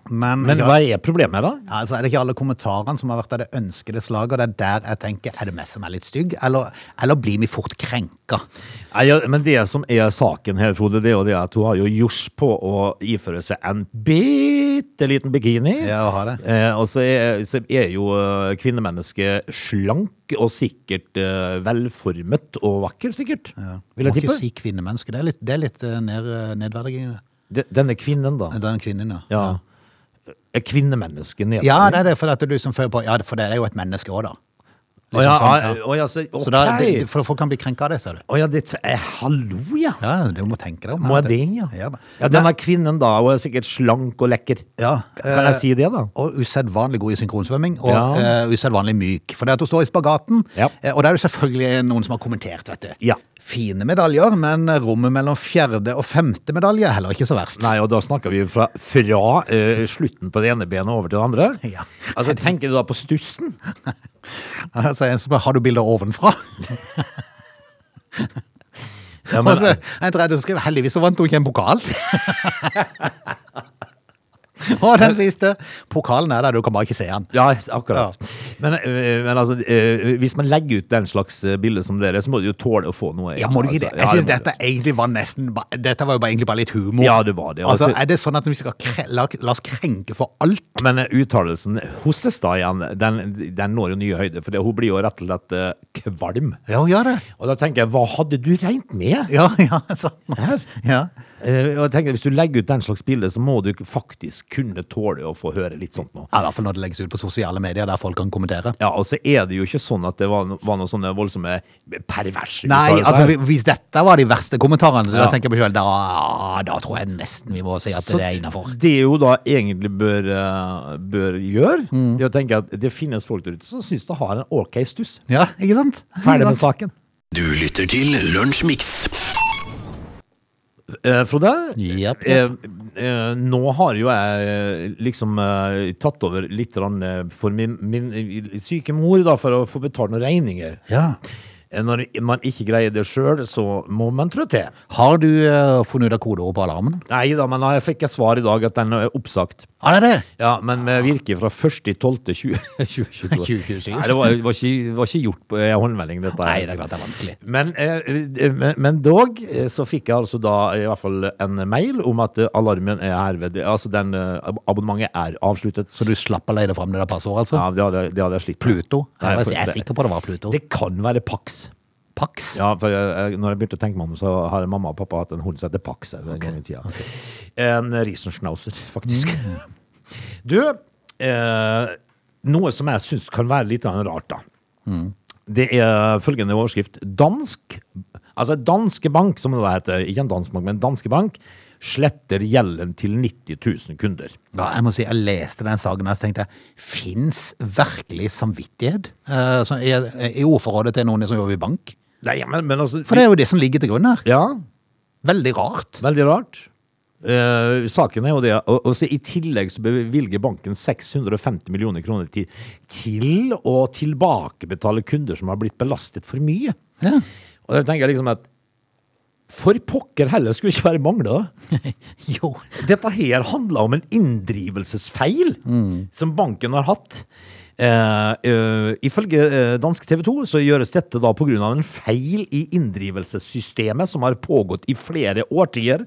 Speaker 1: Men,
Speaker 3: Men
Speaker 1: ja,
Speaker 3: hva er problemet, da?
Speaker 1: altså, er det ikke alle kommentarene som har vært av det ønskede slaget, og det er der jeg tenker, er det meg som er litt stygg, eller, eller blir vi fort krenka?
Speaker 3: Nei, ja, men det som er saken her, Frode, det er jo det at hun har jo gjort på å iføre seg en bitte liten bikini.
Speaker 1: Ja, hun har det.
Speaker 3: Eh, og så er, så er jo eh, kvinnemennesket slank og sikkert eh, velformet og vakker, sikkert. Vil
Speaker 1: Må ikke
Speaker 3: jeg tippe.
Speaker 1: si kvinnemenneske, det er litt, det er litt eh, ned, nedverdigende.
Speaker 3: De- Denne kvinnen, da.
Speaker 1: Den kvinnen, ja.
Speaker 3: Ja. Er kvinnemennesket nede?
Speaker 1: Ja, det er det, for, at du som fører på, ja, for det er jo et menneske også da.
Speaker 3: Å ja,
Speaker 1: Liksom
Speaker 3: ja,
Speaker 1: sånn, ja.
Speaker 3: å ja, så, ok.
Speaker 1: Så da, det, for folk kan bli krenka av det, ser du.
Speaker 3: Å ja, det, eh, hallo, ja.
Speaker 1: Ja, du må tenke deg om.
Speaker 3: Må jeg det, ja?
Speaker 1: Ja,
Speaker 3: Ja, denne kvinnen, da, hun er sikkert slank og lekker.
Speaker 1: Ja,
Speaker 3: Kan
Speaker 1: eh,
Speaker 3: jeg si det, da?
Speaker 1: Og usedvanlig god i synkronsvømming, og
Speaker 3: Ja.
Speaker 1: eh, usedvanlig myk. For det at hun står i spagaten,
Speaker 3: Ja.
Speaker 1: eh, og det er jo selvfølgelig noen som har kommentert, vet du.
Speaker 3: Ja.
Speaker 1: Fine medaljer, men rommet mellom fjerde og femte medalje er heller ikke så verst.
Speaker 3: Nei, og da snakker vi fra, fra eh, slutten på det ene benet over til det andre.
Speaker 1: Ja.
Speaker 3: Altså, Tenker du da på stussen?
Speaker 1: Altså, en som bare, har du bilder ovenfra?
Speaker 3: Ja,
Speaker 1: Altså, Og så en tredje som skriver, heldigvis så vant hun ikke en pokal. Og den siste. Pokalen er der, du kan bare ikke se den.
Speaker 3: Ja, s- akkurat. Men, eh, men altså, eh, hvis man legger ut den slags eh, bilde som dere, så må du jo tåle å få noe.
Speaker 1: Ja, må du ikke det?
Speaker 3: altså.
Speaker 1: Jeg
Speaker 3: Ja,
Speaker 1: synes
Speaker 3: må du.
Speaker 1: dette egentlig var nesten ba- Dette var jo bare egentlig bare litt humor.
Speaker 3: Ja, det var det.
Speaker 1: Altså,
Speaker 3: Altså-
Speaker 1: Er det sånn at vi skal kre la, la oss krenke for alt?
Speaker 3: Men eh, uttalelsen Hossestad igjen, den, den når jo nye høyder, for det, hun blir jo rett og slett eh, kvalm.
Speaker 1: Ja, hun gjør det.
Speaker 3: Og da tenker jeg, hva hadde du regnet med?
Speaker 1: Ja, ja, sant.
Speaker 3: Her?
Speaker 1: Ja.
Speaker 3: Eh, og jeg tenker, Hvis du legger ut den slags bilde, så må du faktisk kunne tåle å få høre litt sånt nå.
Speaker 1: Ja, I hvert fall når det legges ut på sosiale medier der folk kan kommentere.
Speaker 3: Ja, Og så er det jo ikke sånn at det var, no- var noen sånne voldsomme perverse
Speaker 1: Nei,
Speaker 3: uttalelser
Speaker 1: altså
Speaker 3: her.
Speaker 1: hvi- hvis dette var de verste kommentarene, så da
Speaker 3: Ja.
Speaker 1: tenker jeg på selv, da, da tror jeg nesten vi må si at det er innafor.
Speaker 3: Så det hun da egentlig bør, eh, bør gjøre, det er å tenke at det finnes folk der ute som syns det har en ok stuss.
Speaker 1: Ja, ikke sant?
Speaker 3: Ferdig
Speaker 1: Ikke sant?
Speaker 3: med saken.
Speaker 2: Du lytter til Lunsjmix.
Speaker 3: Eh, Frode,
Speaker 1: Japp, japp.
Speaker 3: eh, eh, nå har jo jeg eh, liksom eh, tatt over litt grann, eh, for min, min eh, syke mor da, for å få betalt noen regninger.
Speaker 1: Ja.
Speaker 3: Eh, Når man ikke greier det sjøl, så må man trå til.
Speaker 1: Har du eh, funnet ut av kodeordet på alarmen?
Speaker 3: Nei da, men jeg fikk et svar i dag at den er oppsagt.
Speaker 1: Har det det?
Speaker 3: Ja, men med virke fra 1.12.2022.
Speaker 1: 2027.
Speaker 3: Nei, det var, det var, ikke, det var ikke gjort på eh, håndmelding, dette.
Speaker 1: Nei,
Speaker 3: her.
Speaker 1: det er klart det er vanskelig.
Speaker 3: Men, eh, eh, men, men dog eh, så fikk jeg altså da i hvert fall en mail om at eh, alarmen er herved Altså den eh, ab- abonnementet er avsluttet.
Speaker 1: Så du slapp å leie fram det der passordet, altså?
Speaker 3: Ja, det hadde, jeg- det hadde jeg slitt med.
Speaker 1: Pluto?
Speaker 3: Nei,
Speaker 1: Jeg, var,
Speaker 3: for-
Speaker 1: jeg er sikker på det var Pluto.
Speaker 3: Det kan være Pax.
Speaker 1: Pax?
Speaker 3: Ja, for jeg, jeg, når jeg begynte å tenke meg om, så har mamma og pappa hatt en hund som heter Pax. en gang i tida. En Riesenschnauzer, faktisk.
Speaker 1: Mm.
Speaker 3: Du, eh, noe som jeg syns kan være litt av en rart, da.
Speaker 1: Mm.
Speaker 3: Det er følgende overskrift. Dansk Altså Danske Bank, som det da heter. Ikke en dansk bank, men Danske Bank sletter gjelden til 90 000 kunder.
Speaker 1: Ja, jeg må si, jeg leste den saken og så tenkte jeg, fins virkelig samvittighet eh, som er, i ordforrådet til noen som jobber i bank?
Speaker 3: Nei, men, men altså
Speaker 1: For det er jo det som ligger til grunn her.
Speaker 3: Ja,
Speaker 1: Veldig rart.
Speaker 3: Veldig rart. Eh, saken er jo det. Og, og så I tillegg så bevilger banken 650 millioner kroner til, til å tilbakebetale kunder som har blitt belastet for mye.
Speaker 1: Ja.
Speaker 3: Og da tenker jeg liksom at For pokker heller skulle ikke være mangla.
Speaker 1: Jo.
Speaker 3: Dette her handla om en inndrivelsesfeil som banken har hatt. Eh, eh, ifølge eh, dansk TV 2 så gjøres dette da pga. en feil i inndrivelsessystemet som har pågått i flere årtier.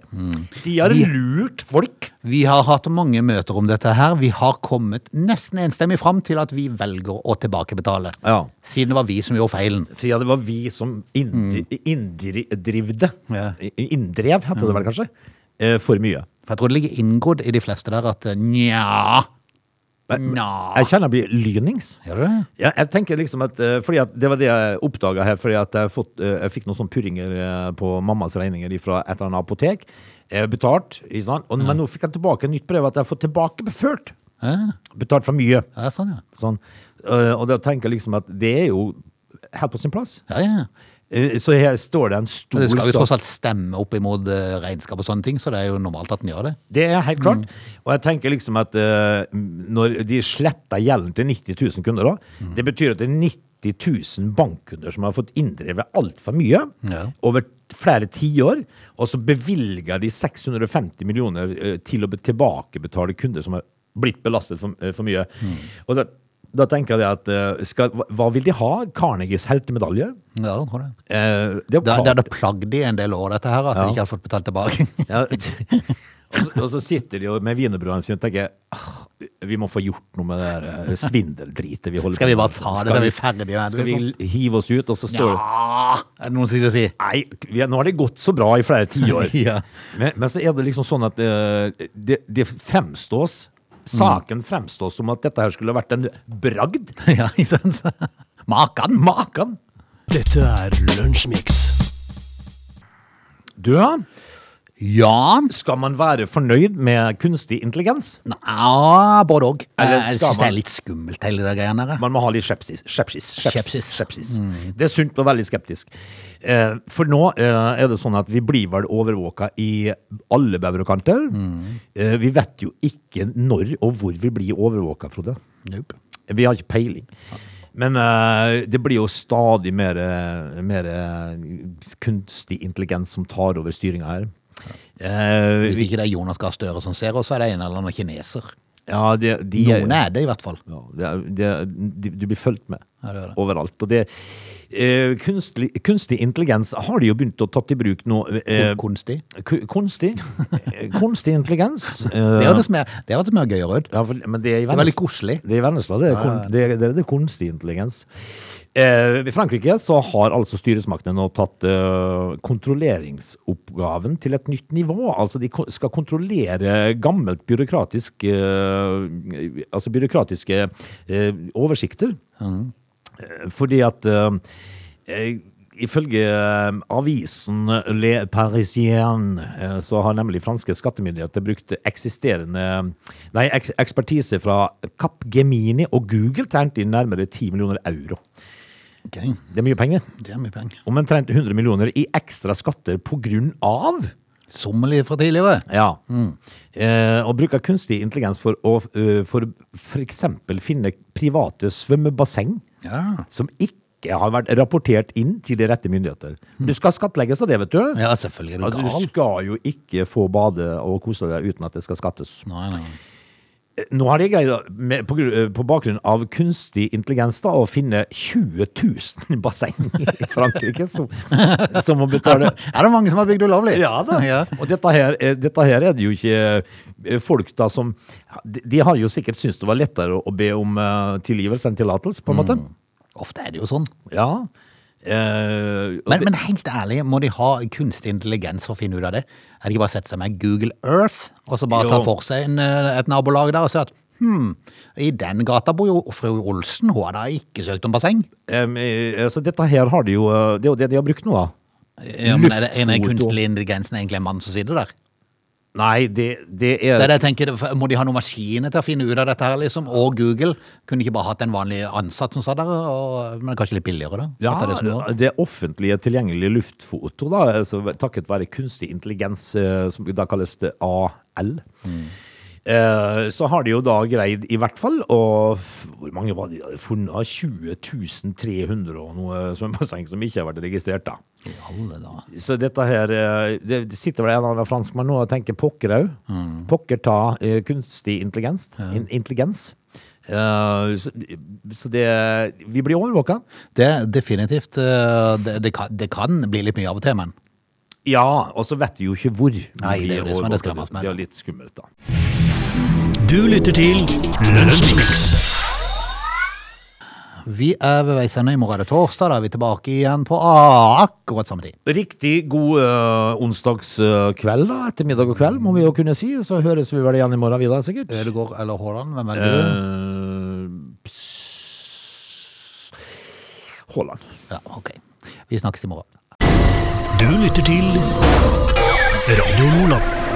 Speaker 3: De har
Speaker 1: Vi-
Speaker 3: lurt folk.
Speaker 1: Vi har hatt mange møter om dette her. Vi har kommet nesten enstemmig fram til at vi velger å tilbakebetale.
Speaker 3: Ja.
Speaker 1: Siden det var vi som gjorde feilen.
Speaker 3: Siden det var vi som inndri, inndrivde
Speaker 1: Mm. Ja. Mm.
Speaker 3: I- Inndrev, heter det vel kanskje? Eh, for mye.
Speaker 1: For jeg tror det ligger inngått i de fleste der at eh, nja Nja.
Speaker 3: Jeg kjenner jeg blir lynings.
Speaker 1: Gjør du det?
Speaker 3: Ja, jeg tenker liksom at eh, Fordi at det var det jeg oppdaga her, fordi at jeg, fått, eh, jeg fikk noen sånne purringer eh, på mammas regninger fra et eller annet apotek. Eh, betalt, ikke sant? Og, men nå fikk jeg tilbake et nytt brev at jeg har fått tilbakebeført.
Speaker 1: Ja,
Speaker 3: Betalt for mye.
Speaker 1: det er sånn, ja.
Speaker 3: Sånn. Eh, og da tenker jeg liksom at det er jo helt på sin plass.
Speaker 1: Ja, ja.
Speaker 3: Eh, så her står det en stor
Speaker 1: Det skal jo
Speaker 3: sak.
Speaker 1: tross alt stemme opp imot eh, regnskap og sånne ting, så det er jo normalt at den gjør det.
Speaker 3: Det er helt klart.
Speaker 1: Mm.
Speaker 3: Og jeg tenker liksom at eh, når de sletter gjelden til 90 000 kunder, da,
Speaker 1: Mm.
Speaker 3: det betyr at det er 90 000 bankkunder som har fått inndrevet altfor mye
Speaker 1: Ja.
Speaker 3: over flere tiår, og så bevilger de 650 millioner eh, til å be- tilbakebetale kunder som har blitt belastet for, eh, for mye.
Speaker 1: Mm.
Speaker 3: Og da, da tenker jeg at eh, skal, hva, hva vil de ha? Carnegies heltemedalje?
Speaker 1: Ja, jeg tror det.
Speaker 3: Eh, det er jo
Speaker 1: Da,
Speaker 3: klart-
Speaker 1: da det plagde i en del år, dette her, at de ikke hadde fått betalt tilbake.
Speaker 3: Ja. og, så, og så sitter de jo med wienerbrødene sine og tenker ah, vi må få gjort noe med det der eh, svindeldritet vi holder
Speaker 1: Skal vi bare ta det, så er
Speaker 3: Skal
Speaker 1: vi
Speaker 3: vi,
Speaker 1: ferdige med
Speaker 3: skal vi hive oss ut, og så står det
Speaker 1: Ja, er det noen som sier å si?
Speaker 3: Nei, vi, er- nå har det gått så bra i flere tiår.
Speaker 1: Ja.
Speaker 3: men, men så er det liksom sånn at eh, det, det fremstås
Speaker 1: Mm.
Speaker 3: Saken fremstås som at dette her skulle vært en bragd.
Speaker 1: Ja, ikke sant? Makan!
Speaker 3: Makan!
Speaker 2: Dette er Lunsjmix.
Speaker 3: Du,
Speaker 1: Ja,
Speaker 3: skal man være fornøyd med kunstig intelligens?
Speaker 1: Nja, både òg.
Speaker 3: Eller
Speaker 1: Jeg
Speaker 3: skal
Speaker 1: syns det
Speaker 3: man-
Speaker 1: er litt skummelt, hele det greiene der.
Speaker 3: Man må ha litt skepsis. Skepsis. skepsis,
Speaker 1: Skepsis.
Speaker 3: skepsis. Det er sunt å være litt skeptisk. Eh, for nå eh, er det sånn at vi blir vel overvåka i alle bauger og kanter. Eh, vi vet jo ikke når og hvor vi blir overvåka, Frode.
Speaker 1: Nope.
Speaker 3: Vi har ikke peiling. Men eh, det blir jo stadig mer, eh, mer eh, kunstig intelligens som tar over styringa her. Eh,
Speaker 1: Hvis
Speaker 3: vi,
Speaker 1: ikke det er Jonas Gahr Støre som ser oss, så er det en eller annen kineser.
Speaker 3: ja, de, de,
Speaker 1: Noen er det, i hvert fall.
Speaker 3: Ja, det, er- det, er- de, du blir fulgt med
Speaker 1: Ja, det gjør det.
Speaker 3: overalt. Og det, eh, kunstlig, kunstig intelligens har de jo begynt å ta i bruk nå. Eh,
Speaker 1: Kunstig.
Speaker 3: ku- kunstig eh, Kunstig intelligens. eh,
Speaker 1: Det hørtes mer, det hørtes mer gøy og rødt.
Speaker 3: ja, for, men det er
Speaker 1: Det
Speaker 3: i
Speaker 1: er veldig
Speaker 3: Vennesla.
Speaker 1: koselig.
Speaker 3: Det er i Vennesla, det er, kun, det, er- det er det kunstig intelligens. Eh, I Frankrike så har altså styresmaktene nå tatt eh, kontrolleringsoppgaven til et nytt nivå. Altså de ko- skal kontrollere gammelt byråkratisk eh, Altså byråkratiske eh, oversikter. Eh, Fordi at eh, eh, Ifølge eh, avisen Le Parisien eh, så har nemlig franske skattemyndigheter brukt eksisterende Nei, eks ekspertise fra Capgemini og Google til å hente inn nærmere 10 millioner euro.
Speaker 1: Gøy.
Speaker 3: Det er mye penger.
Speaker 1: Det er mye penger.
Speaker 3: Omtrent 100 millioner i ekstra skatter på grunn av
Speaker 1: Sommelier fra tidligere.
Speaker 3: ja. Eh, og bruk av kunstig intelligens for å eh, for, for eksempel finne private svømmebasseng
Speaker 1: Ja.
Speaker 3: som ikke har vært rapportert inn til de rette myndigheter. Du skal skattlegges av det, vet du.
Speaker 1: ja, selvfølgelig er
Speaker 3: Altså,
Speaker 1: du
Speaker 3: du
Speaker 1: gal.
Speaker 3: skal jo ikke få bade og kose deg uten at det skal skattes.
Speaker 1: Nei, nei.
Speaker 3: Eh, Nå har de greid, å- med- på, gru- eh, på bakgrunn av kunstig intelligens, da, å finne 20 000 basseng i Frankrike som, som må betale
Speaker 1: Er det mange som har bygd ulovlig?
Speaker 3: Ja da.
Speaker 1: Ja.
Speaker 3: Og dette her, eh, dette her er det jo ikke eh, folk da som De, de har jo sikkert syntes det var lettere å, å be om eh, tilgivelse enn tillatelse, på en måte.
Speaker 1: Mm. Ofte er det jo sånn.
Speaker 3: Ja. Eh, og
Speaker 1: Men,
Speaker 3: det-
Speaker 1: men helt ærlig, må de ha kunstig intelligens for å finne ut av det? Er det ikke bare å sette seg med Google Earth, og så bare
Speaker 3: Jo.
Speaker 1: ta for seg en, eh, et nabolag der og se at hm, i den gata bor jo fru Olsen, hun har da ikke søkt om basseng.
Speaker 3: Em, eh, altså dette her har de jo eh, Det er jo det de har brukt nå, da.
Speaker 1: Ja, men er det en
Speaker 3: Luftfoto.
Speaker 1: kunstig intelligensen egentlig en mann som sitter der?
Speaker 3: Nei, det, det er
Speaker 1: Det er det jeg tenker, for Må de ha noen maskiner til å finne ut av dette her, liksom? Og Google? Kunne de ikke bare hatt en vanlig ansatt som satt der? Og, men kanskje litt billigere, da?
Speaker 3: ja,
Speaker 1: At det er det som går.
Speaker 3: det offentlige tilgjengelige luftfoto, da, altså, takket være kunstig intelligens, eh, som da kalles det AL,
Speaker 1: Mm.
Speaker 3: eh, så har de jo da greid i hvert fall å f- Hvor mange var det de hadde funnet? 20 300 og noe svømmebasseng som ikke har vært registrert, da.
Speaker 1: I alle dager.
Speaker 3: Så dette her eh, Det det sitter vel en eller annen franskmann nå og tenker pokker au.
Speaker 1: Mm.
Speaker 3: Pokker ta eh, kunstig intelligens. In, intelligens. Eh, så, så det Vi blir overvåka.
Speaker 1: Det er definitivt eh, det, det, kan, det kan bli litt mye av og til, men
Speaker 3: Ja, og så vet vi jo ikke hvor. vi
Speaker 1: Nei, det er jo
Speaker 3: blir
Speaker 1: det som er det
Speaker 3: overvåket.
Speaker 1: skremmende med
Speaker 3: Det er
Speaker 1: det.
Speaker 3: litt skummelt, da.
Speaker 2: Du lytter til Lunsjmix.
Speaker 1: Vi er ved veis ende. I morgen er det torsdag. Da er vi tilbake igjen på akkurat samme tid.
Speaker 3: Riktig god eh, onsdagskveld, da. Ettermiddag og kveld, må vi jo kunne si. Så høres vi vel igjen i morgen, vi da, sikkert.
Speaker 1: Ødegård eller Haaland, hvem velger du?
Speaker 3: Eh, pss. Haaland.
Speaker 1: Ja, ok. Vi snakkes i morgen.
Speaker 2: Du lytter til Radio Nordland.